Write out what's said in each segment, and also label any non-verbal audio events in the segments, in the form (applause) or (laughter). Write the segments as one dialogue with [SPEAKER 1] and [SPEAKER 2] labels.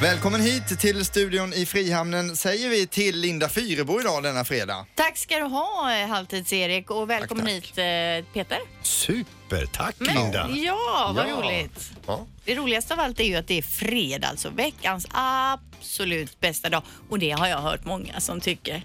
[SPEAKER 1] Välkommen hit till studion i Frihamnen säger vi till Linda Fyrebo idag denna fredag.
[SPEAKER 2] Tack ska du ha, eh, Halvtids-Erik, och välkommen
[SPEAKER 1] Tack,
[SPEAKER 2] hit eh, Peter.
[SPEAKER 3] Supertack
[SPEAKER 2] Men,
[SPEAKER 3] Linda!
[SPEAKER 2] Ja, vad
[SPEAKER 3] Ja.
[SPEAKER 2] roligt.
[SPEAKER 3] Ja.
[SPEAKER 2] Det roligaste av allt är ju att det är fredag, alltså veckans absolut bästa dag. Och det har jag hört många som tycker.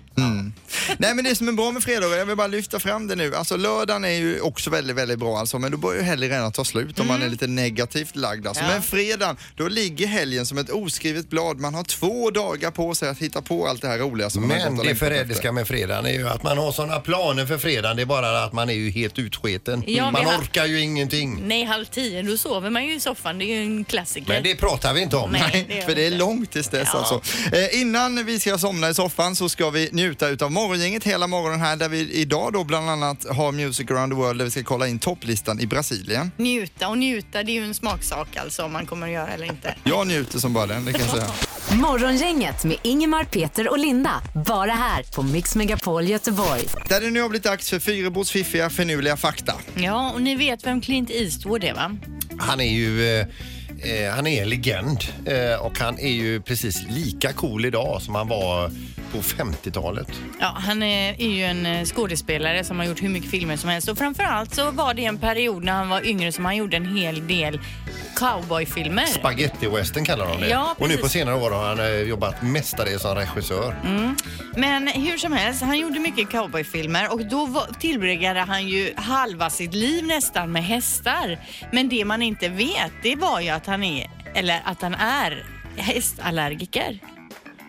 [SPEAKER 1] Nej men det som är bra med fredagar, jag vill bara lyfta fram det nu. Alltså lördagen är ju också väldigt, väldigt bra alltså, men då börjar ju helgen redan ta slut om man
[SPEAKER 3] Mm.
[SPEAKER 1] är lite negativt lagd alltså.
[SPEAKER 2] Ja.
[SPEAKER 1] Men fredagen, då ligger helgen som ett oskrivet blad. Man har två dagar på sig att hitta på allt det här roliga som man
[SPEAKER 3] Men
[SPEAKER 1] gått och
[SPEAKER 3] det
[SPEAKER 1] längtat efter.
[SPEAKER 3] förrädiska med fredagen är ju att man har sådana planer för fredagen. Det är bara att man är ju helt utsketen.
[SPEAKER 2] Ja, vi
[SPEAKER 3] man
[SPEAKER 2] har-
[SPEAKER 3] orkar ju ingenting.
[SPEAKER 2] Nej, halv tio, då sover man ju i soffan. Det är ju en klassiker.
[SPEAKER 3] Men det pratar vi inte om.
[SPEAKER 2] Nej. det
[SPEAKER 1] Nej,
[SPEAKER 2] gör
[SPEAKER 1] för
[SPEAKER 2] vi
[SPEAKER 1] det är
[SPEAKER 2] inte.
[SPEAKER 1] långt tills dess
[SPEAKER 2] Ja.
[SPEAKER 1] alltså. Eh, innan vi ska somna i soffan så ska vi njuta utav morgongänget hela morgonen här där vi idag då bland annat har Music around the world där vi ska kolla in topplistan i Brasilien.
[SPEAKER 2] Njuta och njuta, det är ju en smaksak alltså om man kommer att göra eller inte.
[SPEAKER 1] Jag njuter som bara den, det kan jag
[SPEAKER 2] (laughs)
[SPEAKER 1] säga.
[SPEAKER 4] Morgongänget med Ingemar, Peter och Linda. Bara här på Mix Megapol Göteborg.
[SPEAKER 1] Där det nu har blivit dags för Fyrebos fiffiga finurliga fakta.
[SPEAKER 2] Ja, och ni vet vem Clint Eastwood är va?
[SPEAKER 3] Han är ju... eh, Eh, han är en legend eh, och han är ju precis lika cool idag som han var på 50-talet.
[SPEAKER 2] Ja, han eh, är ju en eh, skådespelare som har gjort hur mycket filmer som helst och framförallt så var det en period när han var yngre som han gjorde en hel del cowboyfilmer.
[SPEAKER 3] Spaghetti-western kallar de det.
[SPEAKER 2] Ja,
[SPEAKER 3] och nu på
[SPEAKER 2] precis. Mm,
[SPEAKER 3] senare år har han eh, jobbat mestadels som regissör.
[SPEAKER 2] Men hur som helst, han gjorde mycket cowboyfilmer och då var- tillbringade han ju halva sitt liv nästan med hästar. Men det man inte vet, det var ju att han är, eller att han är hästallergiker.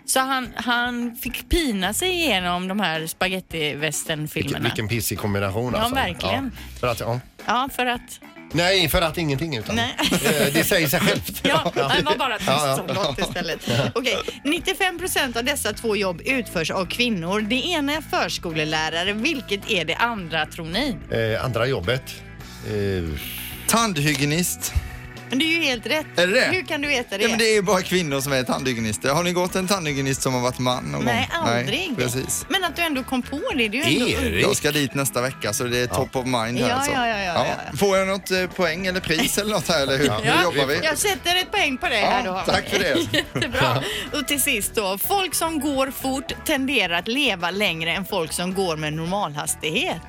[SPEAKER 2] Så han, han fick pina sig igenom de här
[SPEAKER 3] Vilken,
[SPEAKER 2] spagettivästern-filmerna.
[SPEAKER 3] vilken pissig kombination
[SPEAKER 2] Ja,
[SPEAKER 3] alltså.
[SPEAKER 2] verkligen.
[SPEAKER 3] Ja, för att, ja.
[SPEAKER 2] Ja, för att...
[SPEAKER 3] Nej, för att ingenting utan.
[SPEAKER 2] Nej.
[SPEAKER 3] (laughs) Eh, Det säger sig självt.
[SPEAKER 2] Ja, det var bara tyst
[SPEAKER 3] Ja,
[SPEAKER 2] som
[SPEAKER 3] ja.
[SPEAKER 2] låt istället. Okej, 95 procent av dessa två jobb utförs av kvinnor. Det ena är förskolelärare. Vilket är det andra tror ni?
[SPEAKER 3] Eh, andra jobbet. Eh,
[SPEAKER 1] Tandhygienist.
[SPEAKER 2] Men det är ju helt rätt.
[SPEAKER 1] Är det det?
[SPEAKER 2] Hur kan du veta det?
[SPEAKER 1] Ja, men det är bara kvinnor som är tandhygienister. Har ni gått en tandhygienist som har varit man någon
[SPEAKER 2] Nej,
[SPEAKER 1] gång?
[SPEAKER 2] aldrig.
[SPEAKER 1] precis.
[SPEAKER 2] Men att du ändå kom på det, det är ju ändå...
[SPEAKER 3] Erik?
[SPEAKER 1] Jag ska dit nästa vecka så det är top of mind här
[SPEAKER 2] Ja,
[SPEAKER 1] alltså.
[SPEAKER 2] ja, ja, ja, ja.
[SPEAKER 1] Får jag något eh, poäng eller pris eller något här eller hur, hur jobbar vi?
[SPEAKER 2] Jag sätter ett poäng på dig
[SPEAKER 1] Ja,
[SPEAKER 2] här då. (laughs)
[SPEAKER 1] tack för det.
[SPEAKER 2] Jättebra. Och till sist då. Folk som går fort tenderar att leva längre än folk som går med normalhastighet.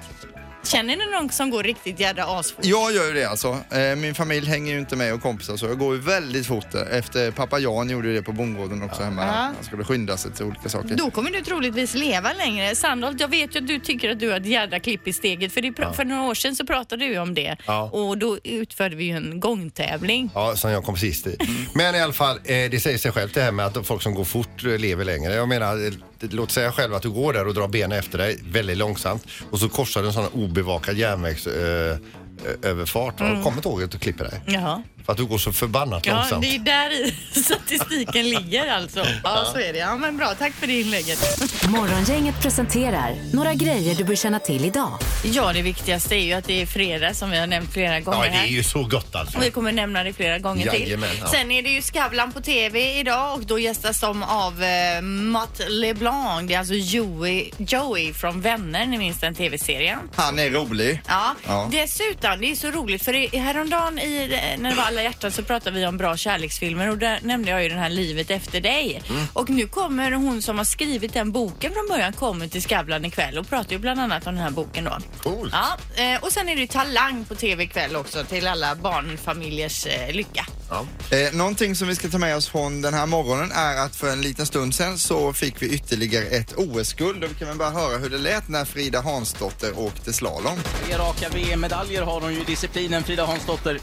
[SPEAKER 2] Känner ni någon som går riktigt jädra asfort?
[SPEAKER 1] Jag gör ju det alltså. Eh, Min familj hänger ju inte med och kompisar så jag går ju väldigt fort eh, efter pappa Jan gjorde det på bondgården också hemma.
[SPEAKER 2] Ja.
[SPEAKER 1] Han skulle skynda sig till olika saker.
[SPEAKER 2] Då kommer du troligtvis leva längre. Sandholt, jag vet ju att du tycker att du har ett jädra klipp i steget. För, det, pra- för några år sedan så pratade du ju om det.
[SPEAKER 3] Ja.
[SPEAKER 2] Och då utförde vi ju en gångtävling.
[SPEAKER 3] Ja, som jag kom sist i. Men i alla fall, eh, det säger sig självt det här med att folk som går fort eh, lever längre. Jag menar, eh, låt säga själv att du går där och drar benen efter dig väldigt långsamt och så korsar du en sån här obevakad eh, järnvägsöverfart. Mm. kommer tåget och klipper dig.
[SPEAKER 2] Jaha.
[SPEAKER 3] För att du går så förbannat
[SPEAKER 2] Ja,
[SPEAKER 3] långsamt.
[SPEAKER 2] det är där i (laughs) statistiken ligger alltså. Ja, så är det. Ja, men bra. Tack för det inlägget.
[SPEAKER 4] Morgongänget presenterar några grejer du bör känna till idag.
[SPEAKER 2] Ja, det viktigaste är ju att det är fredag som vi har nämnt flera gånger
[SPEAKER 3] Ja, det
[SPEAKER 2] här.
[SPEAKER 3] är ju så gott alltså.
[SPEAKER 2] Och vi kommer nämna det flera gånger
[SPEAKER 3] Jajamän,
[SPEAKER 2] till.
[SPEAKER 3] ja.
[SPEAKER 2] Sen är det ju Skavlan på TV idag och då gästas de av eh, Matt LeBlanc. Det är alltså Joey, Joey från Vänner, ni minns den TV-serien.
[SPEAKER 1] Han är rolig.
[SPEAKER 2] Ja.
[SPEAKER 1] Ja.
[SPEAKER 2] dessutom, det är så roligt för i- häromdagen i, eh, när det var alla hjärtan så pratade vi om bra kärleksfilmer och där nämnde jag ju den här Livet efter dig.
[SPEAKER 3] Mm.
[SPEAKER 2] Och nu kommer hon som har skrivit den boken från början kommer till Skavlan ikväll och pratar ju bland annat om den här boken då.
[SPEAKER 3] Coolt.
[SPEAKER 2] Ja, eh, och sen är det ju Talang på TV ikväll också till alla barnfamiljers eh, lycka.
[SPEAKER 3] Ja.
[SPEAKER 1] Eh, någonting som vi ska ta med oss från den här morgonen är att för en liten stund sedan så fick vi ytterligare ett OS-guld och vi kan väl bara höra hur det lät när Frida Hansdotter åkte slalom.
[SPEAKER 5] Tre raka VM-medaljer har hon ju i disciplinen, Frida Hansdotter.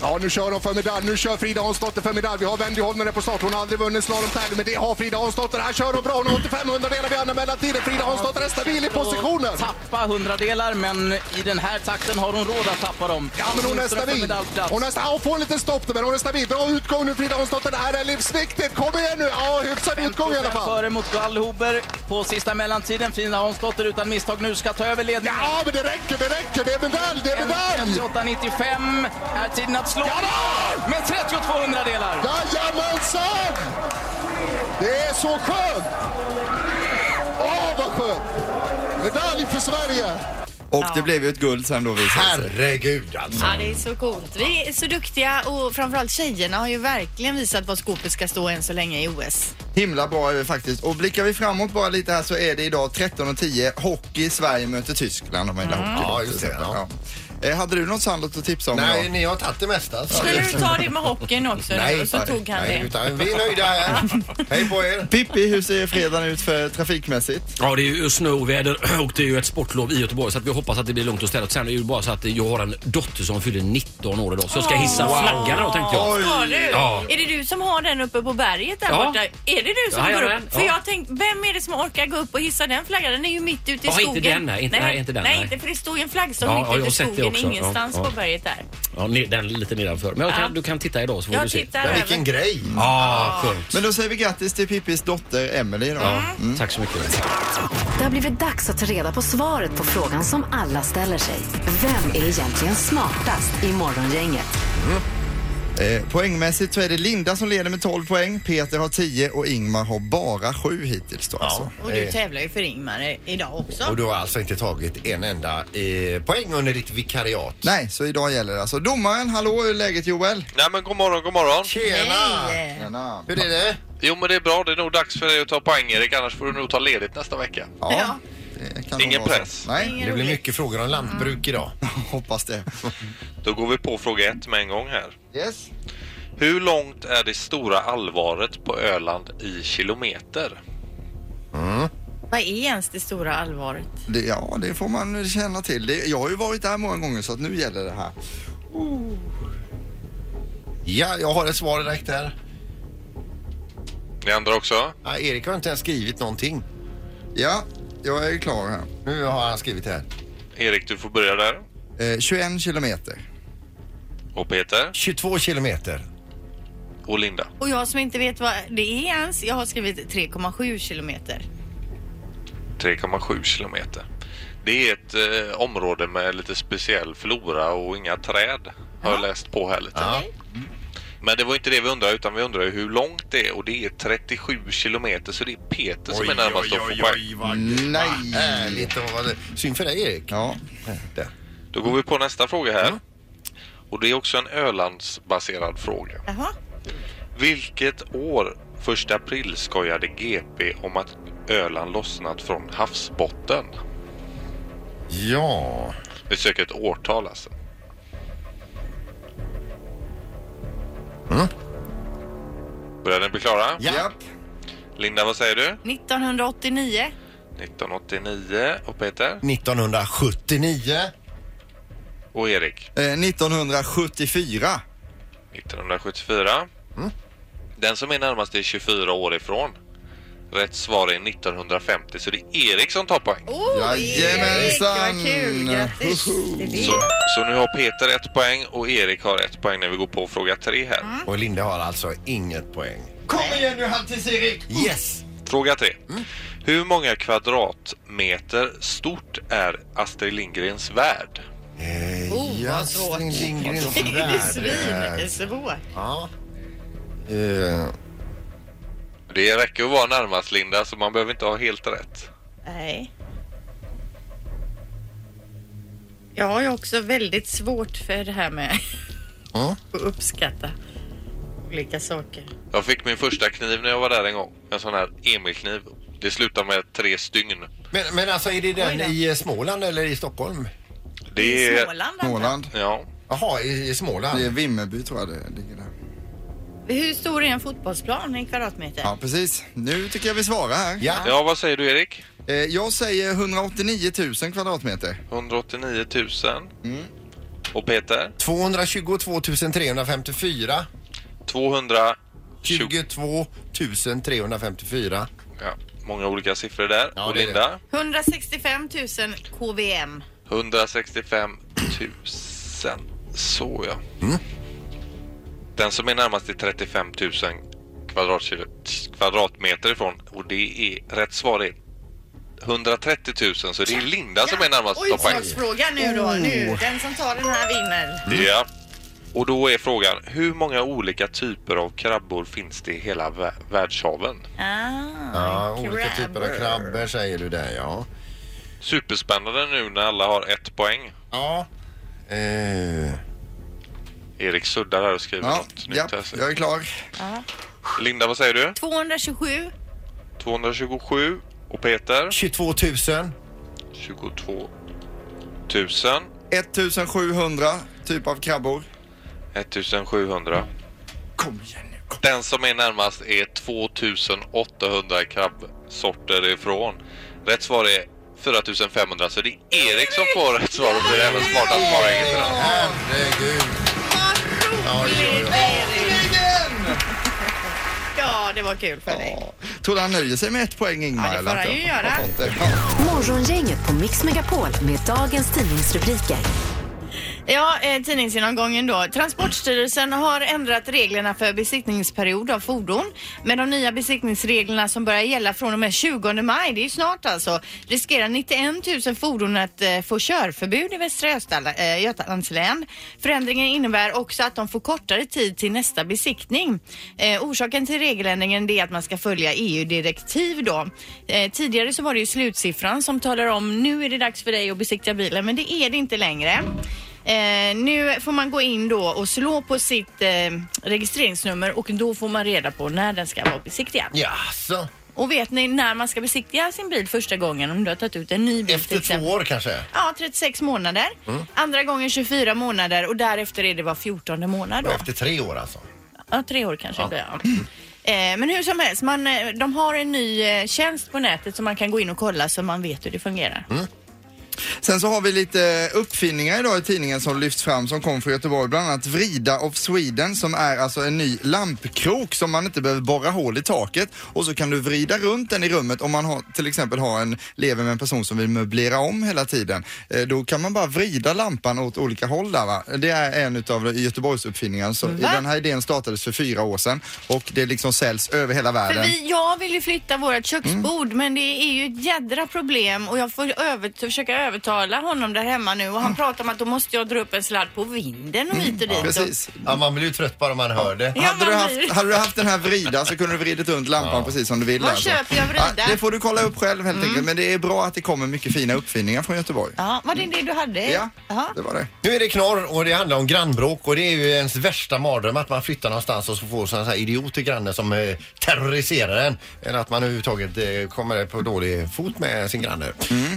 [SPEAKER 6] Ja, nu kör de för medalj. Nu kör Frida Hansdotter för medalj. Vi har Wendy Holmgren på start. Hon har aldrig vunnit slalomtävling, men det har Frida Hansdotter. Här kör hon bra. Hon har 85 hundradelar vid andra mellantiden. Frida Hansdotter är stabil i positionen.
[SPEAKER 5] Och Tappa hundradelar, men i den här takten har hon råd att tappa dem.
[SPEAKER 6] Ja, men hon är stabil. Hon, är, sta- ja, hon får en liten stopp där, men hon är stabil. Bra utgång nu Frida Hansdotter. Det här är livsviktigt. Kom igen nu. Ja, hyfsad utgång i alla fall.
[SPEAKER 5] Före mot Wallhuber på sista mellantiden. Frida Hansdotter utan misstag nu ska ta över ledningen.
[SPEAKER 6] Ja, men det räcker. Det räcker. Det är medalj. Det är medalj.
[SPEAKER 5] 58,95 är tiden att slå.
[SPEAKER 6] Ja, då!
[SPEAKER 5] Med 32 hundradelar.
[SPEAKER 6] Jajamensan! Det är så skönt! Åh, vad skönt! Medalj för Sverige!
[SPEAKER 1] Och det blev ju ett guld sen då visade det sig.
[SPEAKER 3] Herregud alltså.
[SPEAKER 2] Ja, det är så coolt. Vi är så duktiga och framförallt tjejerna har ju verkligen visat vad skåpet ska stå än så länge i OS.
[SPEAKER 1] Himla bra är det faktiskt. Och blickar vi framåt bara lite här så är det idag 13.10 hockey. Sverige möter Tyskland om man
[SPEAKER 2] Mm.
[SPEAKER 1] gillar hockey.
[SPEAKER 3] Ja, just det, ja.
[SPEAKER 1] Ja. Eh, Hade du något Sandot att tipsa om
[SPEAKER 3] Nej,
[SPEAKER 1] idag?
[SPEAKER 3] ni har tagit det mesta. så-
[SPEAKER 2] Skulle du ta det med hockeyn också? Nej, och så tog han
[SPEAKER 3] nej,
[SPEAKER 2] det.
[SPEAKER 3] Utan vi är nöjda här. Hej på er.
[SPEAKER 1] Pippi, hur ser fredagen ut för trafikmässigt?
[SPEAKER 7] Ja, det är ju snöoväder (clears throat) och det är ju ett sportlov i Göteborg så att vi hoppas att det blir lugnt och städat. Sen är det ju bara så att jag har en dotter som fyller 19 år idag så jag ska hissa flaggan då tänkte jag.
[SPEAKER 2] Har du?
[SPEAKER 7] Ja.
[SPEAKER 2] Är det du som har den uppe på berget där
[SPEAKER 7] Ja.
[SPEAKER 2] borta? Är det du som går
[SPEAKER 7] Jajamän,
[SPEAKER 2] upp? För
[SPEAKER 7] ja.
[SPEAKER 2] jag tänkte, vem är det som orkar gå upp och hissa den flaggan? Den är ju mitt ute i
[SPEAKER 7] Ja, inte
[SPEAKER 2] skogen.
[SPEAKER 7] den, nej. Inte- nej, inte den,
[SPEAKER 2] Nej,
[SPEAKER 7] nej.
[SPEAKER 2] inte för det står ju en flaggstång
[SPEAKER 7] Ja, ja,
[SPEAKER 2] mitt
[SPEAKER 7] jag
[SPEAKER 2] ute
[SPEAKER 7] har
[SPEAKER 2] i
[SPEAKER 7] sett det
[SPEAKER 2] skogen
[SPEAKER 7] också. Ja,
[SPEAKER 2] ingenstans
[SPEAKER 7] ja.
[SPEAKER 2] på berget där.
[SPEAKER 7] Ja, ne- den lite nedanför. Men jag kan,
[SPEAKER 2] Ja.
[SPEAKER 7] du kan titta idag så får
[SPEAKER 2] Jag
[SPEAKER 7] du se.
[SPEAKER 2] tittar över.
[SPEAKER 3] Vilken grej.
[SPEAKER 7] Ja, skönt.
[SPEAKER 1] Men då säger vi grattis till Pippis dotter Mm. Emelie idag.
[SPEAKER 7] Tack så mycket.
[SPEAKER 4] Det har blivit dags att ta reda på svaret på frågan som alla ställer sig. Vem är egentligen smartast i Morgongänget?
[SPEAKER 1] Eh, poängmässigt så är det Linda som leder med 12 poäng, Peter har 10 och Ingmar har bara 7 hittills då alltså.
[SPEAKER 2] Och du tävlar ju för Ingmar i- idag också.
[SPEAKER 3] Och du har alltså inte tagit en enda eh, poäng under ditt vikariat.
[SPEAKER 1] Nej, så idag gäller det alltså. Domaren, hallå, hur är läget Joel?
[SPEAKER 8] Nej men god morgon, god morgon.
[SPEAKER 3] Tjena!
[SPEAKER 2] Nej.
[SPEAKER 1] Tjena.
[SPEAKER 3] Hur är det?
[SPEAKER 8] Jo men det är bra, det är nog dags för dig att ta poäng Erik, annars får du nog ta ledigt nästa vecka.
[SPEAKER 1] Ja, det kan nog
[SPEAKER 8] Ingen
[SPEAKER 1] vara så.
[SPEAKER 8] press.
[SPEAKER 1] Nej,
[SPEAKER 2] Ingen
[SPEAKER 3] Det blir
[SPEAKER 2] rolig.
[SPEAKER 3] mycket frågor om lantbruk idag.
[SPEAKER 1] (laughs) hoppas det.
[SPEAKER 8] Då går vi på fråga ett med en gång här.
[SPEAKER 1] (laughs) Yes.
[SPEAKER 8] Hur långt är det stora allvaret på Öland i kilometer?
[SPEAKER 2] Vad är ens det stora allvaret?
[SPEAKER 1] Det, ja, det får man känna till. Det, jag har ju varit där många gånger så att nu gäller det här.
[SPEAKER 3] Ja, jag har ett svar direkt här.
[SPEAKER 8] Ni andra också?
[SPEAKER 3] Ja, Erik har inte ens skrivit någonting.
[SPEAKER 1] Ja, jag är klar här.
[SPEAKER 3] Nu har han skrivit här.
[SPEAKER 8] Erik, du får börja där.
[SPEAKER 1] Eh, 21 kilometer.
[SPEAKER 8] Och Peter
[SPEAKER 3] 22 kilometer.
[SPEAKER 8] och Linda.
[SPEAKER 2] Och jag som inte vet vad det är ens, jag har skrivit 3,7 kilometer.
[SPEAKER 8] 3,7 kilometer. Det är ett eh, område med lite speciell flora och inga träd. Har jag läst på här lite. Mm. Men det var inte det vi undrade utan vi undrar ju hur långt det är och det är 37 kilometer så det är Peter som är närmast att få poäng.
[SPEAKER 3] vad
[SPEAKER 1] Nej.
[SPEAKER 3] härligt. och vad- Synd för dig Erik.
[SPEAKER 1] Ja.
[SPEAKER 3] Där.
[SPEAKER 8] Då går vi på nästa fråga här. Och det är också en Ölandsbaserad fråga.
[SPEAKER 2] Jaha.
[SPEAKER 8] Vilket år första april skojade GP om att Öland lossnat från havsbotten?
[SPEAKER 3] Ja.
[SPEAKER 8] Vi söker ett årtal alltså. Börjar ni bli klara?
[SPEAKER 3] Mm. Ja.
[SPEAKER 1] Japp.
[SPEAKER 8] Linda, vad säger du?
[SPEAKER 2] 1989.
[SPEAKER 8] 1989 och Peter
[SPEAKER 3] 1979.
[SPEAKER 8] och Erik
[SPEAKER 1] Eh, 1974.
[SPEAKER 8] 1974.
[SPEAKER 3] Mm.
[SPEAKER 8] Den som är närmast är 24 år ifrån. Rätt svar är 1950 så det är Erik som tar poäng.
[SPEAKER 2] Oh, Erik,
[SPEAKER 1] Jajamensan.
[SPEAKER 2] vad kul! Grattis! Det är
[SPEAKER 8] Så,
[SPEAKER 2] det.
[SPEAKER 8] så nu har Peter ett poäng och Erik har ett poäng när vi går på fråga tre här.
[SPEAKER 3] Och Linda har alltså inget poäng.
[SPEAKER 1] Kom igen nu Halvtids Erik!
[SPEAKER 3] Yes!
[SPEAKER 8] Fråga tre.
[SPEAKER 3] Mm.
[SPEAKER 8] Hur många kvadratmeter stort är Astrid Lindgrens värld?
[SPEAKER 3] Eh,
[SPEAKER 2] Oh, vad
[SPEAKER 3] ja,
[SPEAKER 2] svårt.
[SPEAKER 3] Astrid Lindgrens
[SPEAKER 2] Det är
[SPEAKER 3] värld.
[SPEAKER 2] svinsvårt.
[SPEAKER 3] Ja. Eh,
[SPEAKER 8] Det räcker att vara närmast Linda så man behöver inte ha helt rätt.
[SPEAKER 2] Nej. Jag har ju också väldigt svårt för det här med
[SPEAKER 3] Ja.
[SPEAKER 2] (laughs) att uppskatta olika saker.
[SPEAKER 8] Jag fick min första kniv när jag var där en gång. En sån här Emil-kniv. Det slutade med tre stygn.
[SPEAKER 3] Men, men alltså är det
[SPEAKER 2] Oj
[SPEAKER 3] den
[SPEAKER 2] då.
[SPEAKER 3] i eh, Småland eller i Stockholm?
[SPEAKER 8] Det
[SPEAKER 2] I
[SPEAKER 8] är...
[SPEAKER 2] Småland, antar jag.
[SPEAKER 1] Småland.
[SPEAKER 8] Ja.
[SPEAKER 3] Jaha, i, i Småland.
[SPEAKER 1] Det är Vimmerby tror jag det ligger där.
[SPEAKER 2] Hur stor är en fotbollsplan i kvadratmeter?
[SPEAKER 1] Ja, precis. Nu tycker jag vi svarar här.
[SPEAKER 3] Ja.
[SPEAKER 8] Ja, vad säger du Erik?
[SPEAKER 1] Eh, jag säger 189 000 kvadratmeter.
[SPEAKER 8] 189 000.
[SPEAKER 3] Mm.
[SPEAKER 8] Och Peter?
[SPEAKER 3] 222 354.
[SPEAKER 8] 220...
[SPEAKER 3] 22 354.
[SPEAKER 8] Ja, många olika siffror där.
[SPEAKER 3] Ja,
[SPEAKER 8] och
[SPEAKER 3] det är
[SPEAKER 8] Linda?
[SPEAKER 2] 165 000 KVM.
[SPEAKER 8] 165 000. Så ja.
[SPEAKER 1] Mm.
[SPEAKER 8] Den som är närmast är 35 000 kvadratkilometer, kvadratmeter ifrån. Och det är rätt svar är 130 000. Så det är Linda som är närmast att ta poäng.
[SPEAKER 2] Utslagsfråga nu då. Nu. Den som tar den här vinner.
[SPEAKER 8] Ja. Och då är frågan, hur många olika typer av krabbor finns det i hela vä- världshaven?
[SPEAKER 2] Ah,
[SPEAKER 3] Ja, olika typer av krabbor säger du där ja.
[SPEAKER 8] Superspännande nu när alla har ett poäng.
[SPEAKER 3] Ja. Eh,
[SPEAKER 8] Erik suddar här och skriver
[SPEAKER 1] Ja,
[SPEAKER 8] något nytt
[SPEAKER 1] ja,
[SPEAKER 8] här. sen.
[SPEAKER 1] jag är klar.
[SPEAKER 8] Linda, vad säger du?
[SPEAKER 2] 227.
[SPEAKER 8] 227 och Peter
[SPEAKER 3] 22 000.
[SPEAKER 8] 22 000
[SPEAKER 1] 1700 typ av krabbor.
[SPEAKER 8] 1700.
[SPEAKER 1] Kom igen nu. Kom.
[SPEAKER 8] Den som är närmast är 2800 krabbsorter ifrån. Rätt svar är 4500 så det är Erik som får rätt svar och blir även smartast på poängen till den.
[SPEAKER 3] Herregud. Vad
[SPEAKER 2] Ja, det var kul för dig.
[SPEAKER 1] Tror du han nöjer sig med ett poäng Ingmar?
[SPEAKER 2] Ja, det får
[SPEAKER 1] eller att
[SPEAKER 2] han
[SPEAKER 1] jag
[SPEAKER 2] ju
[SPEAKER 1] har
[SPEAKER 2] göra.
[SPEAKER 1] fått det? Ja.
[SPEAKER 4] Morgongänget på Mix Megapol med dagens tidningsrubriker.
[SPEAKER 2] Ja, eh, tidningsgenomgången då. Transportstyrelsen har ändrat reglerna för besiktningsperiod av fordon. Med de nya besiktningsreglerna som börjar gälla från och med 20 maj, det är ju snart alltså, riskerar 91 000 fordon att eh, få körförbud i Västra Götaland, eh, Götalands län. Förändringen innebär också att de får kortare tid till nästa besiktning. Eh, orsaken till regeländringen det är att man ska följa EU-direktiv då. Eh, tidigare så var det ju slutsiffran som talar om nu är det dags för dig att besiktiga bilen, men det är det inte längre. Eh, nu får man gå in då och slå på sitt eh, registreringsnummer och då får man reda på när den ska vara besiktigad.
[SPEAKER 3] Jaså?
[SPEAKER 2] Och vet ni när man ska besiktiga sin bil första gången om du har tagit ut en ny bil till
[SPEAKER 3] Efter
[SPEAKER 2] exempel?
[SPEAKER 3] två år Mm. kanske?
[SPEAKER 2] Ja, 36 månader. Andra gången 24 månader och därefter är det var 14 månad då.
[SPEAKER 3] Och efter tre år alltså?
[SPEAKER 2] Ja, tre år kanske det blir. Ja. Eh, Men hur som helst, man, eh, de har en ny eh, tjänst på nätet som man kan gå in och kolla så man vet hur det fungerar.
[SPEAKER 1] Sen så har vi lite uppfinningar idag i tidningen som lyfts fram som kom från Göteborg. Bland annat Vrida of Sweden som är alltså en ny lampkrok som man inte behöver borra hål i taket och så kan du vrida runt den i rummet om man har, till exempel har en, lever med en person som vill möblera om hela tiden. Eh, Då kan man bara vrida lampan åt olika håll där va. Det är en utav Göteborgs uppfinningar. Så
[SPEAKER 2] Va?
[SPEAKER 1] Den här idén startades för fyra år sedan och det liksom säljs över hela
[SPEAKER 2] För
[SPEAKER 1] världen.
[SPEAKER 2] vi, jag vill ju flytta vårt köksbord
[SPEAKER 3] Mm.
[SPEAKER 2] men det är ju ett jädra problem och jag får över, försöka övertala honom där hemma nu och han pratar om att då måste jag dra upp en sladd på vinden och hit och dit.
[SPEAKER 1] Precis.
[SPEAKER 3] Mm. Ja, man blir ju trött bara man hör det.
[SPEAKER 2] Ja,
[SPEAKER 1] hade, du
[SPEAKER 2] man
[SPEAKER 1] haft,
[SPEAKER 2] blir-
[SPEAKER 1] hade du haft den här vrida så kunde du vridit runt lampan precis som du ville.
[SPEAKER 2] Vad köper jag vrida?
[SPEAKER 1] Ja, det får du kolla upp själv helt enkelt. Men det är bra att det kommer mycket fina uppfinningar från Göteborg.
[SPEAKER 2] Och, ja, var det
[SPEAKER 3] Mm.
[SPEAKER 2] det du hade?
[SPEAKER 1] Ja,
[SPEAKER 2] Ja. (laughs)
[SPEAKER 1] det var det.
[SPEAKER 3] Nu är det knorr och det handlar om grannbråk och det är ju ens värsta mardröm att man flyttar någonstans och så får sådana här idioter grannar som eh, terroriserar en. Eller att man överhuvudtaget eh, kommer på dålig fot med sin granne.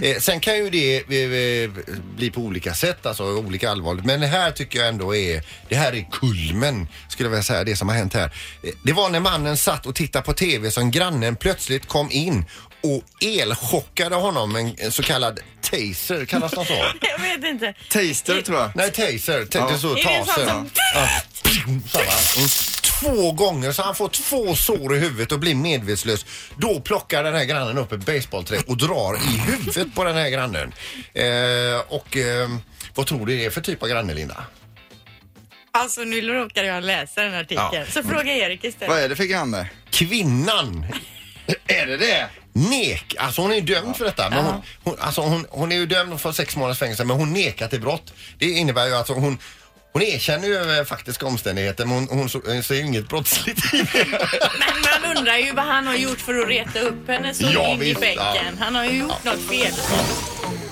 [SPEAKER 3] Eh, sen kan ju det eh, eh, bli på olika sätt, alltså olika allvarligt. Men det här tycker jag ändå är, det här är kulmen skulle jag vilja säga, det som har hänt här. Eh, Det var när mannen satt och tittade på TV som grannen plötsligt kom in och elchockade honom med en- en så kallad taser, kallas de så?
[SPEAKER 2] Jag vet inte.
[SPEAKER 1] Taster tror jag.
[SPEAKER 3] Nej, taser. Tänkte
[SPEAKER 1] Ja.
[SPEAKER 3] så.
[SPEAKER 2] Är det en sån
[SPEAKER 3] Taser.
[SPEAKER 2] som-
[SPEAKER 3] Ja. Så, va? Mm. Två gånger så han får två sår i huvudet och blir medvetslös. Då plockar den här grannen upp ett baseballträ och drar i huvudet på den här grannen. Eh, och eh, vad tror du det är för typ av granne, Linda?
[SPEAKER 2] (laughs) Alltså nu råkade jag läsa den här artikeln.
[SPEAKER 3] Ja.
[SPEAKER 2] Så fråga Erik istället.
[SPEAKER 1] Vad är det för granne?
[SPEAKER 3] Kvinnan
[SPEAKER 1] Är det det?
[SPEAKER 3] Nek, alltså hon är dömd för detta. Men hon, hon, alltså hon, hon är ju dömd för sex månaders fängelse men hon nekar till brott. Det innebär ju att alltså hon hon erkänner ju eh, faktiska omständigheter men hon, hon så- eh, ser ju inget brottsligt i
[SPEAKER 1] (laughs)
[SPEAKER 3] det.
[SPEAKER 2] Men man undrar ju vad han har gjort för att reta upp henne så
[SPEAKER 3] Ja,
[SPEAKER 2] in i
[SPEAKER 3] visst, ja.
[SPEAKER 2] bänken. Han har ju gjort något fel.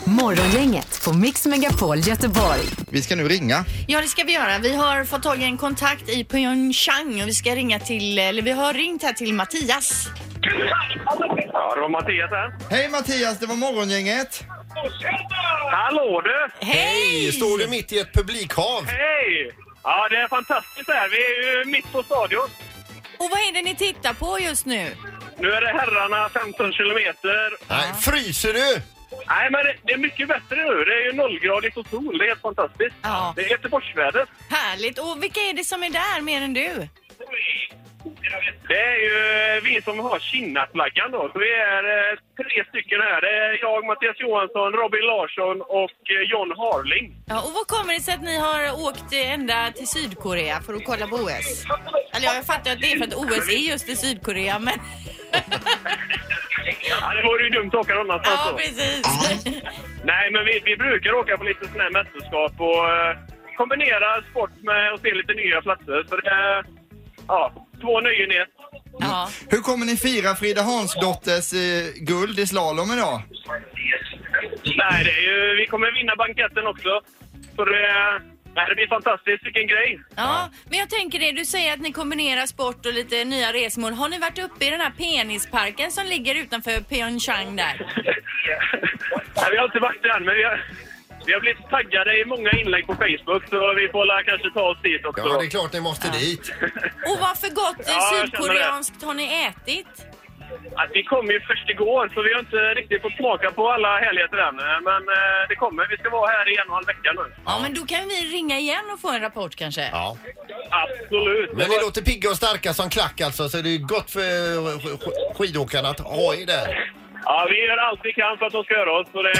[SPEAKER 4] Morgongänget på Mix Megapol Göteborg.
[SPEAKER 1] Vi ska nu ringa.
[SPEAKER 2] Ja, det ska vi göra. Vi har fått tag i en kontakt i Pyeongchang och vi ska ringa till, eller vi har ringt här till Mattias.
[SPEAKER 9] Ja, det var Mattias här.
[SPEAKER 1] Hej Mattias, det var morgongänget.
[SPEAKER 9] Hallå du!
[SPEAKER 2] Hej!
[SPEAKER 3] Står du mitt i ett publikhav?
[SPEAKER 9] Hej! Ja, det är fantastiskt här. Vi är ju mitt på stadion.
[SPEAKER 2] Och vad är det ni tittar på just nu?
[SPEAKER 9] Nu är det herrarna 15 kilometer.
[SPEAKER 3] Nej, fryser du?
[SPEAKER 9] Nej, men det- det är mycket bättre nu. Det är ju nollgradigt och sol. Det är helt fantastiskt.
[SPEAKER 2] Ja.
[SPEAKER 9] Det är Göteborgsväder.
[SPEAKER 2] Härligt! Och vilka är det som är där mer än du?
[SPEAKER 9] Det är ju Eh, vi som har Kina-flaggan då. Vi är eh, tre stycken här. Det är jag, Mattias Johansson, Robin Larsson och eh, John Harling.
[SPEAKER 2] Ja, och vad kommer det sig att ni har åkt ända till Sydkorea för att kolla på OS? Eller ja, jag fattar att det är för att OS är just i Sydkorea, men...
[SPEAKER 9] Ja, det vore ju dumt att åka någon annanstans
[SPEAKER 2] Ja,
[SPEAKER 9] då.
[SPEAKER 2] precis!
[SPEAKER 9] Nej, men vi, vi brukar åka på lite sådana här mästerskap och eh, kombinera sport med att se lite nya platser. Så det är ja, två nöjen ner.
[SPEAKER 2] (laughs) Ja.
[SPEAKER 1] Hur kommer ni fira Frida Hansdotters eh, guld i slalom idag?
[SPEAKER 8] Nej, det är ju, vi kommer vinna banketten också. Så det, nej, det blir fantastiskt. Vilken grej!
[SPEAKER 9] Ja, men jag tänker det, du säger att ni kombinerar sport och lite nya resmål. Har ni varit uppe i den här penisparken som ligger utanför Pyeongchang där?
[SPEAKER 8] nej, vi har inte varit där än, men vi har, vi har blivit taggade i många inlägg på Facebook så vi får la kanske ta oss dit också.
[SPEAKER 3] Ja, det är klart ni måste dit.
[SPEAKER 9] Och vad för gott
[SPEAKER 8] Ja, jag
[SPEAKER 9] sydkoreanskt har ni ätit?
[SPEAKER 8] Att vi kom ju först igår så vi har inte riktigt fått smaka på alla härligheter än. Men eh, det kommer. Vi ska vara här i en och en halv vecka nu.
[SPEAKER 9] Ja, men då kan vi ringa igen och få en rapport kanske.
[SPEAKER 3] Ja.
[SPEAKER 8] Absolut!
[SPEAKER 3] Men ni låter pigga och starka som klack alltså, så det är gott för eh, sk- sk- skidåkarna att ha er där.
[SPEAKER 8] Ja, vi gör allt vi kan för att de ska höra oss. Så det,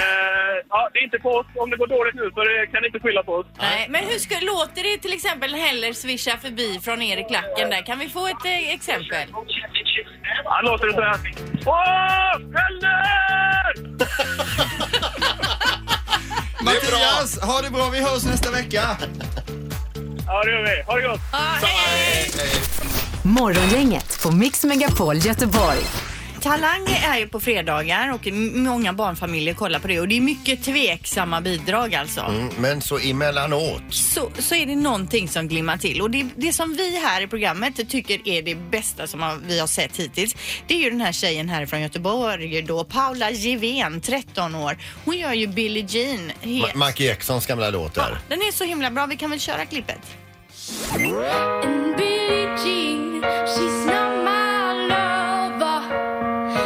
[SPEAKER 8] ja, det är inte på oss. Om det går dåligt nu så det, kan ni inte skylla på oss.
[SPEAKER 9] Nej, men hur ska, låter det till exempel heller svischa förbi från er i klacken där? Kan vi få ett eh, exempel?
[SPEAKER 8] Han låter det så här. Åh, Heller!
[SPEAKER 1] Mattias, ha det bra. Vi hörs nästa vecka.
[SPEAKER 8] Ja, det gör vi. Ha det gott!
[SPEAKER 9] Ja, hej!
[SPEAKER 4] Morgongänget på Mix Megapol Göteborg.
[SPEAKER 2] Talang är ju på fredagar och m- många barnfamiljer kollar på det och det är mycket tveksamma bidrag alltså.
[SPEAKER 3] Mm, Men så emellanåt.
[SPEAKER 2] Så, så är det någonting som glimmar till och det, det som vi här i programmet tycker är det bästa som har, vi har sett hittills det är ju den här tjejen här från Göteborg då, Paula Givén, 13 år. Hon gör ju Billie Jean.
[SPEAKER 3] Ma-
[SPEAKER 2] Helt.
[SPEAKER 3] Mike Jacksons gamla låt
[SPEAKER 2] Ja,
[SPEAKER 3] där.
[SPEAKER 2] den är så himla bra, vi kan väl köra klippet?
[SPEAKER 9] And Billie Jean, she's not my lover.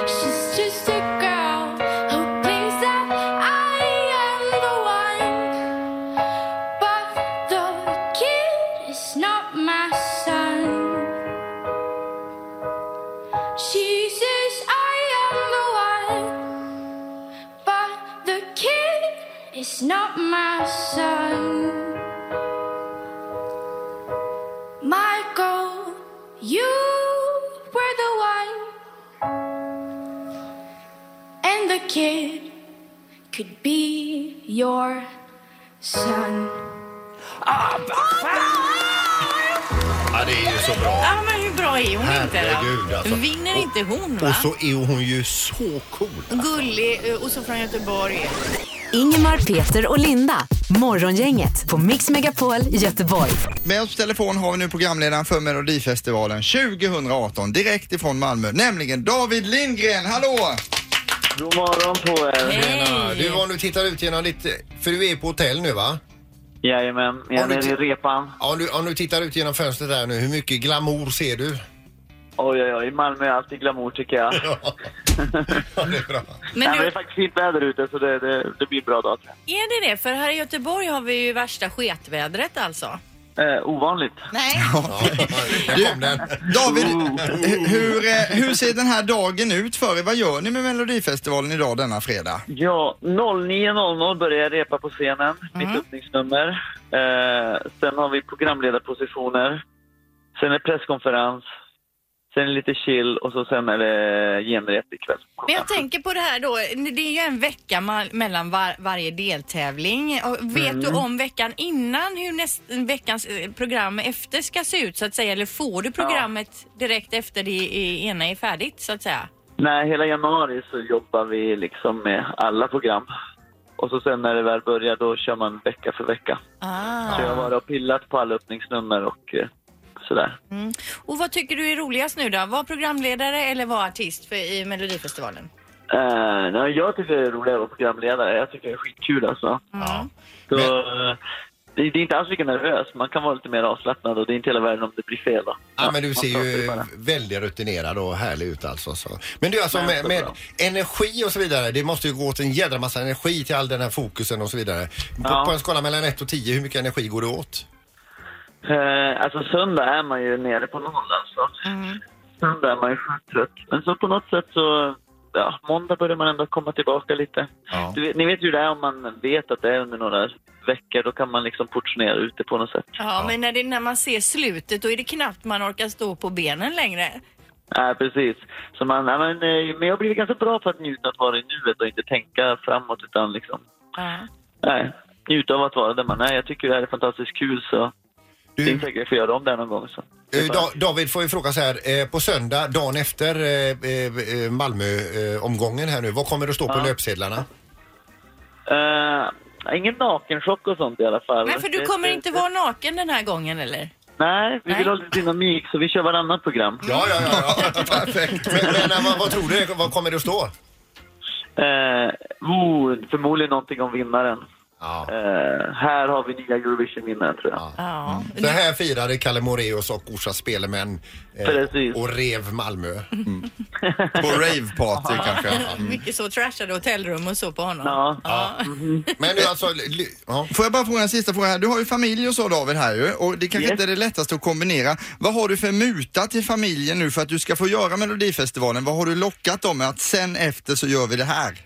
[SPEAKER 9] She's just a girl who thinks that I am the one. But the kid is not my son. She says I am the one. But the kid is not my son. Michael, you were the one, and the kid could be your son.
[SPEAKER 3] Ja, det är ju så bra.
[SPEAKER 2] Ja men hur bra är hon inte
[SPEAKER 3] Herregud,
[SPEAKER 2] då?
[SPEAKER 3] alltså.
[SPEAKER 2] Vinner inte hon va?
[SPEAKER 3] Och så är hon ju så cool.
[SPEAKER 2] Gullig eh, och så från Göteborg.
[SPEAKER 4] Ingemar, Peter och Linda. Morgongänget på Mix Megapol Göteborg.
[SPEAKER 1] Med oss på telefon har vi nu programledaren för Melodifestivalen 2018 direkt ifrån Malmö, nämligen David Lindgren. Hallå!
[SPEAKER 8] God morgon på er!
[SPEAKER 3] Tjena. Du, om du tittar ut genom ditt... För du är på hotell nu va?
[SPEAKER 8] Jajamän,
[SPEAKER 3] Har
[SPEAKER 8] jag
[SPEAKER 3] du
[SPEAKER 8] är nere i
[SPEAKER 3] ti-
[SPEAKER 8] repan.
[SPEAKER 3] Ja, Om du, om du tittar ut genom fönstret där nu, hur mycket glamour ser du?
[SPEAKER 8] Oj, oj, oj. Malmö är alltid glamour tycker jag.
[SPEAKER 3] (laughs) Ja, det är bra.
[SPEAKER 8] Nej,
[SPEAKER 9] Men
[SPEAKER 8] men det
[SPEAKER 9] du,
[SPEAKER 8] är faktiskt fint väder ute så det, det, det blir en bra dag. tror
[SPEAKER 9] är det det? För här i Göteborg har vi ju värsta sketvädret alltså.
[SPEAKER 8] jag. Eh, ovanligt.
[SPEAKER 2] Nej.
[SPEAKER 3] Ja, där kom den.
[SPEAKER 1] David, hu- hur, eh, hur ser den här dagen ut för er? Vad gör ni med Melodifestivalen idag denna fredag?
[SPEAKER 8] Ja, 09.00 börjar jag repa på scenen, mitt öppningsnummer. Eh, sen har vi programledarpositioner. Sen är det presskonferens. Sen är det lite chill och så sen är det genrep ikväll.
[SPEAKER 2] Men jag tänker på det här då, det är ju en vecka ma- mellan var, varje deltävling. Och vet du om veckan innan hur näst, veckans eh, program efter ska se ut så att säga? Eller får du programmet direkt efter det i- ena är färdigt så att säga?
[SPEAKER 8] Nej, hela januari så jobbar vi liksom med alla program. Och så sen när det väl börjar då kör man vecka för vecka.
[SPEAKER 2] Ah.
[SPEAKER 8] Så jag har varit och pillat på alla öppningsnummer och eh, sådär.
[SPEAKER 2] Och vad tycker du är roligast nu då? Var programledare eller var artist för, i Melodifestivalen?
[SPEAKER 8] Eh, nej, jag tycker det är roligt att vara programledare. Jag tycker det är skitkul
[SPEAKER 10] Mm.
[SPEAKER 8] alltså.
[SPEAKER 3] Ja.
[SPEAKER 8] Så,
[SPEAKER 3] Men-
[SPEAKER 8] eh, det, det är inte alls lika nervös. Man kan vara lite mer avslappnad och det är inte hela världen om det blir fel. Då.
[SPEAKER 3] Ja, men du
[SPEAKER 8] man
[SPEAKER 3] ser
[SPEAKER 8] pratar
[SPEAKER 3] ju
[SPEAKER 8] bara.
[SPEAKER 3] väldigt rutinerad och härlig ut alltså. Så. Men du alltså
[SPEAKER 8] Men
[SPEAKER 3] med,
[SPEAKER 8] så
[SPEAKER 3] med
[SPEAKER 8] bra.
[SPEAKER 3] energi och så vidare, det måste ju gå åt en jädra massa energi till all den här fokusen och så vidare. På,
[SPEAKER 8] Ja.
[SPEAKER 3] på en skala mellan 1 och 10, hur mycket energi går det åt?
[SPEAKER 8] Eh, alltså söndag är man ju nere på noll alltså. Söndag är man ju sjukt trött. Men så på något sätt så, ja, måndag börjar man ändå komma tillbaka lite.
[SPEAKER 3] Ja.
[SPEAKER 8] Du vet, ni vet ju hur det är om man vet att det är under några veckor, då kan man liksom portionera ut det på något sätt.
[SPEAKER 2] Ja, men när, det, när man ser slutet då är det knappt man orkar stå på benen längre.
[SPEAKER 8] Nej, precis. Så man, ja, men, eh, men jag har blivit ganska bra på att njuta av att vara i nuet och inte tänka framåt utan liksom,
[SPEAKER 2] Ja.
[SPEAKER 8] nej, njuta av att vara där man är. Jag tycker det här är fantastiskt kul så det är
[SPEAKER 3] Du,
[SPEAKER 8] inte säkert att jag får göra om det här någon gång. Så.
[SPEAKER 3] eh, da, David får ju fråga så här, eh, på söndag, dagen efter eh, eh, Malmö-omgången här nu, vad kommer det stå på löpsedlarna?
[SPEAKER 9] Eh, ingen nakenchock och sånt i alla fall.
[SPEAKER 10] Nej, för du kommer inte vara naken den här gången eller?
[SPEAKER 9] Nej, vi vill ha lite dynamik så vi kör varannat program.
[SPEAKER 3] Ja, ja, ja. ja. (laughs) Perfekt. Men, men eh, vad, vad tror du? Vad kommer det att stå?
[SPEAKER 9] Eh, oh, förmodligen någonting om vinnaren. Eh, här har vi nya Eurovision-vinnaren tror jag.
[SPEAKER 10] Ja.
[SPEAKER 3] Så här firade Kalle Moreus och Orsa Spelemän
[SPEAKER 9] Precis.
[SPEAKER 3] eh, och rev Malmö.
[SPEAKER 1] På raveparty kanske.
[SPEAKER 3] Mm.
[SPEAKER 10] Mycket så trashade hotellrum och så på honom.
[SPEAKER 9] Ja.
[SPEAKER 3] Men du alltså... li- Ja.
[SPEAKER 1] Får jag bara fråga en sista fråga här. Du har ju familj och så David här ju och det kanske
[SPEAKER 9] Yes.
[SPEAKER 1] inte är det lättaste att kombinera. Vad har du för muta till familjen nu för att du ska få göra Melodifestivalen? Vad har du lockat dem med att sen efter så gör vi det här?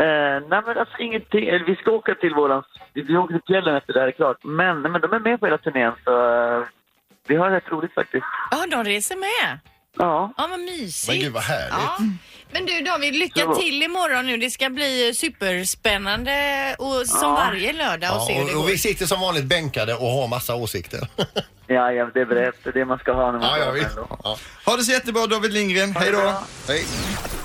[SPEAKER 9] Eh, nej men alltså ingenting, eller vi ska åka till våran, vi åker till fjällen efter det här är klart. Men, nej, men de är med på hela turnén så eh, vi har rätt roligt faktiskt.
[SPEAKER 2] Ja, de reser med.
[SPEAKER 9] Ja,
[SPEAKER 10] Ja, vad
[SPEAKER 3] Men
[SPEAKER 10] mysigt.
[SPEAKER 3] gud vad härligt. Mm.
[SPEAKER 10] Ja. Men du David, lycka till imorgon nu. Det ska
[SPEAKER 2] eh,
[SPEAKER 10] bli superspännande och som varje lördag och
[SPEAKER 3] Ja,
[SPEAKER 10] se hur det
[SPEAKER 3] och,
[SPEAKER 10] går.
[SPEAKER 3] och vi sitter som vanligt bänkade och har massa åsikter.
[SPEAKER 9] ja, ja det är väl rätt, det är det man ska ha när
[SPEAKER 3] (laughs)
[SPEAKER 9] man
[SPEAKER 3] ja,
[SPEAKER 9] ska
[SPEAKER 3] ja,
[SPEAKER 9] vara
[SPEAKER 3] vi,
[SPEAKER 9] med då.
[SPEAKER 3] ja.
[SPEAKER 1] Ha det så jättebra David Lindgren, hej då!
[SPEAKER 3] Hej.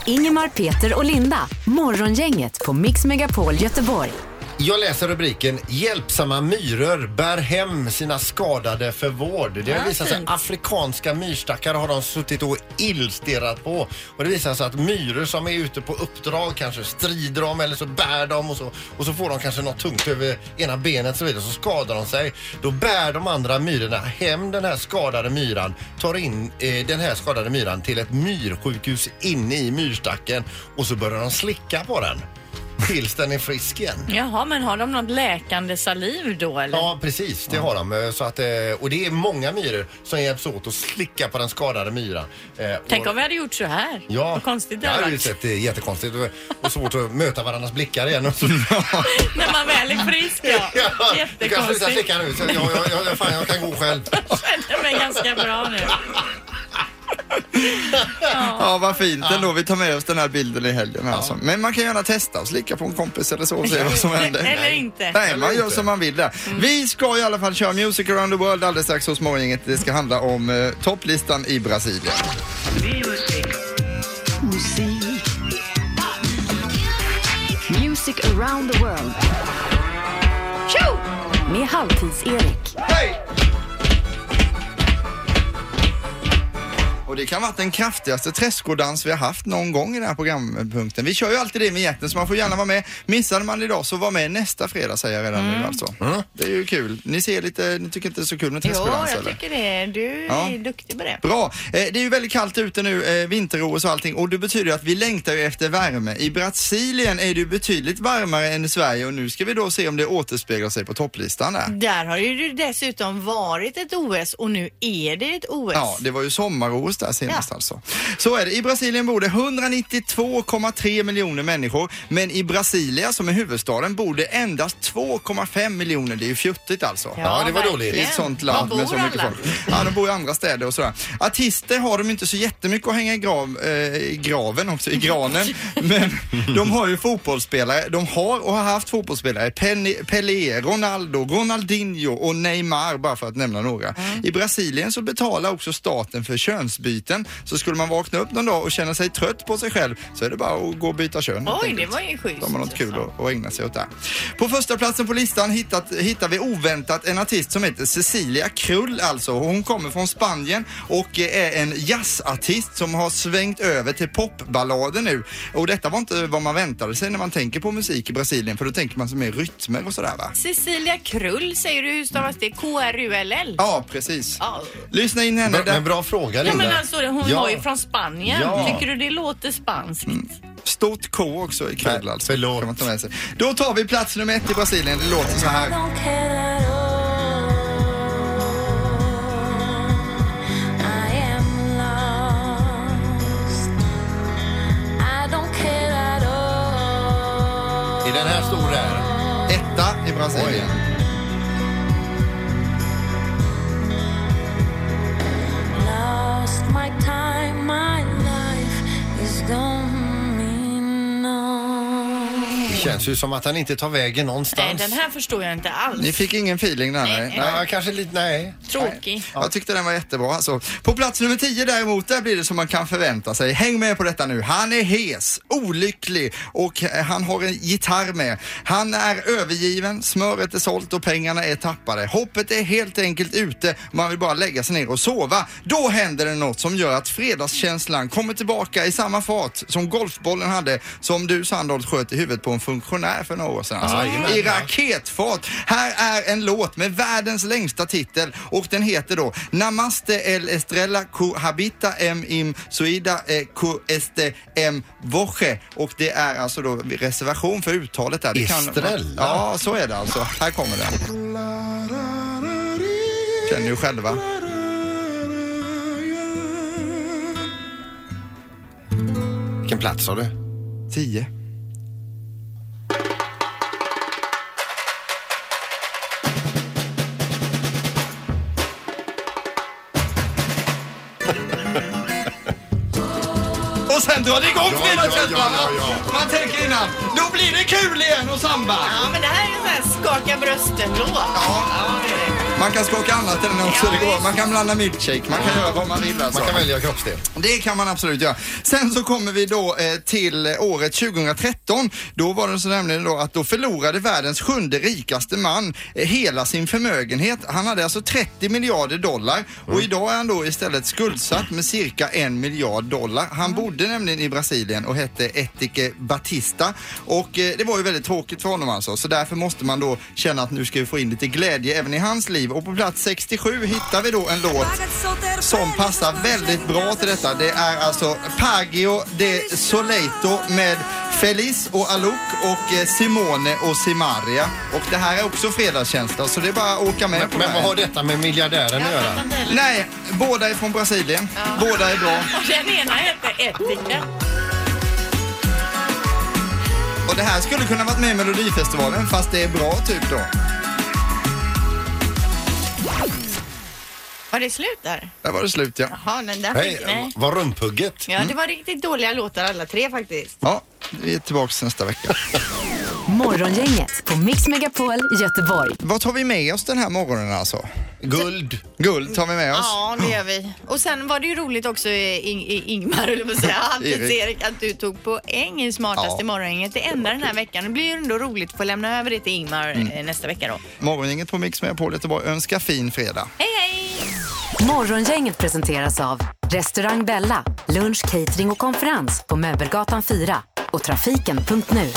[SPEAKER 4] Ingemar, Peter och Linda. Morgongänget på Mix Megapol Göteborg.
[SPEAKER 3] Jag läser rubriken Hjälpsamma myror bär hem sina skadade för vård. Det har visat sig att afrikanska myrstackar har de suttit och illstirrat på. Och det visar sig att myror som är ute på uppdrag kanske strider de eller så bär de och så, och så får de kanske något tungt över ena benet och så vidare så skadar de sig. Då bär de andra myrorna hem den här skadade myran, tar in eh, den här skadade myran till ett myrsjukhus inne i myrstacken och så börjar de slicka på den tills den är frisk igen.
[SPEAKER 2] Jaha, men har de något läkande saliv då eller?
[SPEAKER 3] Ja, precis. Det har de. Eh, Så att, eh, och det är många myror som hjälps åt att slicka på den skadade myran. Eh,
[SPEAKER 2] Tänk
[SPEAKER 3] och-
[SPEAKER 2] om vi hade gjort så här.
[SPEAKER 3] Ja,
[SPEAKER 2] Vad konstigt det
[SPEAKER 3] det
[SPEAKER 2] hade
[SPEAKER 3] hade ju
[SPEAKER 2] varit.
[SPEAKER 3] sett det är jättekonstigt och- och svårt att möta varandras blickar igen. (laughs) Och så,
[SPEAKER 2] När man väl är frisk
[SPEAKER 3] (laughs)
[SPEAKER 2] ja.
[SPEAKER 3] du kan sluta
[SPEAKER 2] Jättekonstigt. (laughs)
[SPEAKER 3] slicka nu. Så jag, jag, jag, fan, jag kan gå själv.
[SPEAKER 2] Jag känner mig ganska bra nu.
[SPEAKER 1] Ja, vad fint ändå. Vi tar med oss den här bilden i helgen alltså. Men man kan gärna testa och slicka på en kompis eller så och se vad som händer.
[SPEAKER 2] Eller inte. Mm.
[SPEAKER 1] Nej, man
[SPEAKER 3] Eller
[SPEAKER 1] gör
[SPEAKER 3] inte.
[SPEAKER 1] som man vill där. Vi ska i alla fall köra Music around the world alldeles strax hos Morgongänget. Det ska handla om eh, topplistan i Brasilien.
[SPEAKER 4] Music around the world. Tjo! Med Halvtids-Erik.
[SPEAKER 1] Och det kan vara den kraftigaste träskodans vi har haft någon gång i den här programpunkten. Vi kör ju alltid det med jätten så man får gärna vara med. Missade man idag så var med nästa fredag säger jag redan
[SPEAKER 2] Mm.
[SPEAKER 1] nu alltså. Det är ju kul. Ni ser lite, ni tycker inte det är så kul med
[SPEAKER 2] Jo,
[SPEAKER 1] träskodans
[SPEAKER 2] jag
[SPEAKER 1] eller?
[SPEAKER 2] tycker det. Du
[SPEAKER 1] Ja.
[SPEAKER 2] är duktig på det.
[SPEAKER 1] Bra. Eh, Det är ju väldigt kallt ute nu, eh, vinter-OS och allting och det betyder att vi längtar ju efter värme. I Brasilien är det ju betydligt varmare än i Sverige och nu ska vi då se om det återspeglar sig på topplistan där.
[SPEAKER 2] Där har ju det dessutom varit ett OS och nu är det ett OS.
[SPEAKER 1] Ja, det var ju sommar-OS där senast
[SPEAKER 2] Ja.
[SPEAKER 1] alltså. Så är det. I Brasilien bor det 192,3 miljoner människor men i Brasilia som är huvudstaden bor det endast 2,5 miljoner. Det är ju fjuttigt alltså.
[SPEAKER 3] Ja, det var dåligt.
[SPEAKER 1] I ett sånt land
[SPEAKER 2] Var
[SPEAKER 1] med så
[SPEAKER 2] bor
[SPEAKER 1] mycket
[SPEAKER 2] alla?
[SPEAKER 1] folk. Ja, de bor i andra städer och sådär. Artister har de inte så jättemycket att hänga i, grav, eh, i graven också, i
[SPEAKER 2] (laughs)
[SPEAKER 1] granen. Men de har ju fotbollsspelare. De har och har haft fotbollsspelare. Penny, Pelé, Ronaldo, Ronaldinho och Neymar bara för att nämna några.
[SPEAKER 2] Mm.
[SPEAKER 1] I Brasilien så betalar också staten för könsbyten. Så skulle man vakna upp någon dag och känna sig trött på sig själv så är det bara att gå och byta kön. helt
[SPEAKER 2] Oj, det
[SPEAKER 1] enkelt.
[SPEAKER 2] var ju schysst.
[SPEAKER 1] De har något kul att, att ägna sig åt där. På första platsen på listan hittat, hittar vi oväntat en artist som heter Cecilia Krull alltså. Hon kommer från Spanien och är en jazzartist som har svängt över till popballader nu. Och detta var inte vad man väntade sig när man tänker på musik i Brasilien för då tänker man som mer rytmer och sådär va?
[SPEAKER 10] Cecilia Krull säger du, hur stavas det? K-R-U-L-L?
[SPEAKER 1] Ja, precis.
[SPEAKER 10] Ja.
[SPEAKER 1] Lyssna in henne.
[SPEAKER 3] Men,
[SPEAKER 1] Där.
[SPEAKER 3] men bra fråga
[SPEAKER 2] Ja
[SPEAKER 3] Linda.
[SPEAKER 2] men alltså hon
[SPEAKER 3] Ja.
[SPEAKER 2] var ju från Spanien.
[SPEAKER 3] Ja.
[SPEAKER 2] Tycker du det låter spanskt?
[SPEAKER 1] Mm. Stort K också i Krull
[SPEAKER 3] Nej,
[SPEAKER 1] alltså.
[SPEAKER 3] förlåt.
[SPEAKER 1] Kan man ta med sig. Då tar vi plats nummer ett i Brasilien. Det låter så här.
[SPEAKER 3] I den här stora.
[SPEAKER 1] Etta i Brasilien.
[SPEAKER 3] Känns ju som att han inte tar vägen någonstans.
[SPEAKER 2] Nej, den här förstår jag inte alls.
[SPEAKER 1] Ni fick ingen feeling där? Nej.
[SPEAKER 3] Ja, kanske lite, nej.
[SPEAKER 2] Tråkig.
[SPEAKER 1] Jag tyckte den var jättebra alltså. På plats nummer 10 däremot, där blir det som man kan förvänta sig. Häng med på detta nu. Han är hes, olycklig och eh, han har en gitarr med. Han är övergiven, smöret är sålt och pengarna är tappade. Hoppet är helt enkelt ute och man vill bara lägga sig ner och sova. Då händer det något som gör att fredagskänslan kommer tillbaka i samma fart som golfbollen hade som du Sandholt sköt i huvudet på en funktionär för några år sedan. Alltså,
[SPEAKER 3] Jajamän,
[SPEAKER 1] I
[SPEAKER 3] ja.
[SPEAKER 1] raketfart. Här är en låt med världens längsta titel och den heter då Namaste el estrella cohabita em im suida eh, co este em voche och det är alltså då reservation för uttalet där. Det
[SPEAKER 3] Estrella?
[SPEAKER 1] Ja, så är det alltså. Här kommer den. Känner ju själva.
[SPEAKER 3] Vilken plats har du?
[SPEAKER 1] 10. (laughs) Och sen drar det igång fredagskänslan!
[SPEAKER 3] ja, ja,
[SPEAKER 1] Man tänker innan, då blir det kul igen och samba!
[SPEAKER 2] Ja, men det här är en sån här skaka brösten-låt. Ja. det är det.
[SPEAKER 1] Man kan skaka annat än också det går. Man kan blanda milkshake, man kan göra vad man vill alltså.
[SPEAKER 3] Man kan välja kroppsdel.
[SPEAKER 1] Det kan man absolut göra. Sen så kommer vi då eh, till eh, året 2013. Då var det så nämligen då att då förlorade världens sjunde rikaste man eh, hela sin förmögenhet. Han hade alltså 30 miljarder dollar och idag är han då istället skuldsatt med cirka en miljard dollar. Han bodde nämligen i Brasilien och hette Etike Batista och eh, det var ju väldigt tråkigt för honom alltså så därför måste man då känna att nu ska vi få in lite glädje även i hans liv och på plats 67 hittar vi då en låt som passar väldigt bra till detta. Det är alltså Pagio de Soleito med Feliz och Alok och eh, Simone och Simaria. Och det här är också fredagskänsla så det är bara att åka med på det
[SPEAKER 3] Men
[SPEAKER 1] här.
[SPEAKER 3] vad har detta med miljardären att göra?
[SPEAKER 1] Nej, båda är från Brasilien. Båda är bra.
[SPEAKER 2] Och Den ena heter Etika.
[SPEAKER 1] Och det här skulle kunna varit med i Melodifestivalen fast det är bra typ då.
[SPEAKER 2] Var det slut där?
[SPEAKER 1] Där var det slut ja.
[SPEAKER 2] Ja, men där fick...
[SPEAKER 3] Nej,
[SPEAKER 2] Nej.
[SPEAKER 3] var rumphugget?
[SPEAKER 2] Ja, det var riktigt dåliga låtar alla tre faktiskt.
[SPEAKER 1] Ja, vi är tillbaka nästa vecka.
[SPEAKER 4] Morgongänget på Mix Megapol Göteborg.
[SPEAKER 1] Vad tar vi med oss den här morgonen alltså?
[SPEAKER 3] Guld.
[SPEAKER 1] Guld tar vi med oss.
[SPEAKER 2] Ja, det gör vi. Och sen var det ju roligt också eh, Ing- I- Ingmar, höll jag på att säga, Halvtids Erik, att du tog poäng i smartast
[SPEAKER 1] Ja.
[SPEAKER 2] i morgongänget. Det enda den här veckan. Det blir ju ändå roligt att få lämna över det till Ingmar eh, nästa vecka då.
[SPEAKER 1] Morgongänget på Mix med på Göteborg önskar fin fredag.
[SPEAKER 2] Hej, hej!
[SPEAKER 4] Morgongänget presenteras av Restaurang Bella, lunch, catering och konferens på Möbelgatan 4 och trafiken.nu.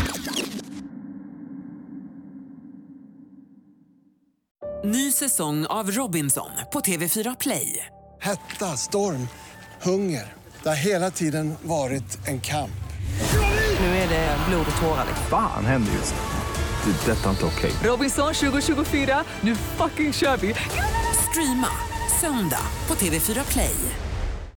[SPEAKER 11] Ny säsong av Robinson på TV4 Play.
[SPEAKER 12] Hetta, storm, hunger. Det har hela tiden varit en kamp.
[SPEAKER 11] Nu är det blod och tårar.
[SPEAKER 13] Fan händer just nu. Det. är Detta är inte okej.
[SPEAKER 11] Robinson 2024, nu fucking kör vi! Streama söndag på TV4 Play.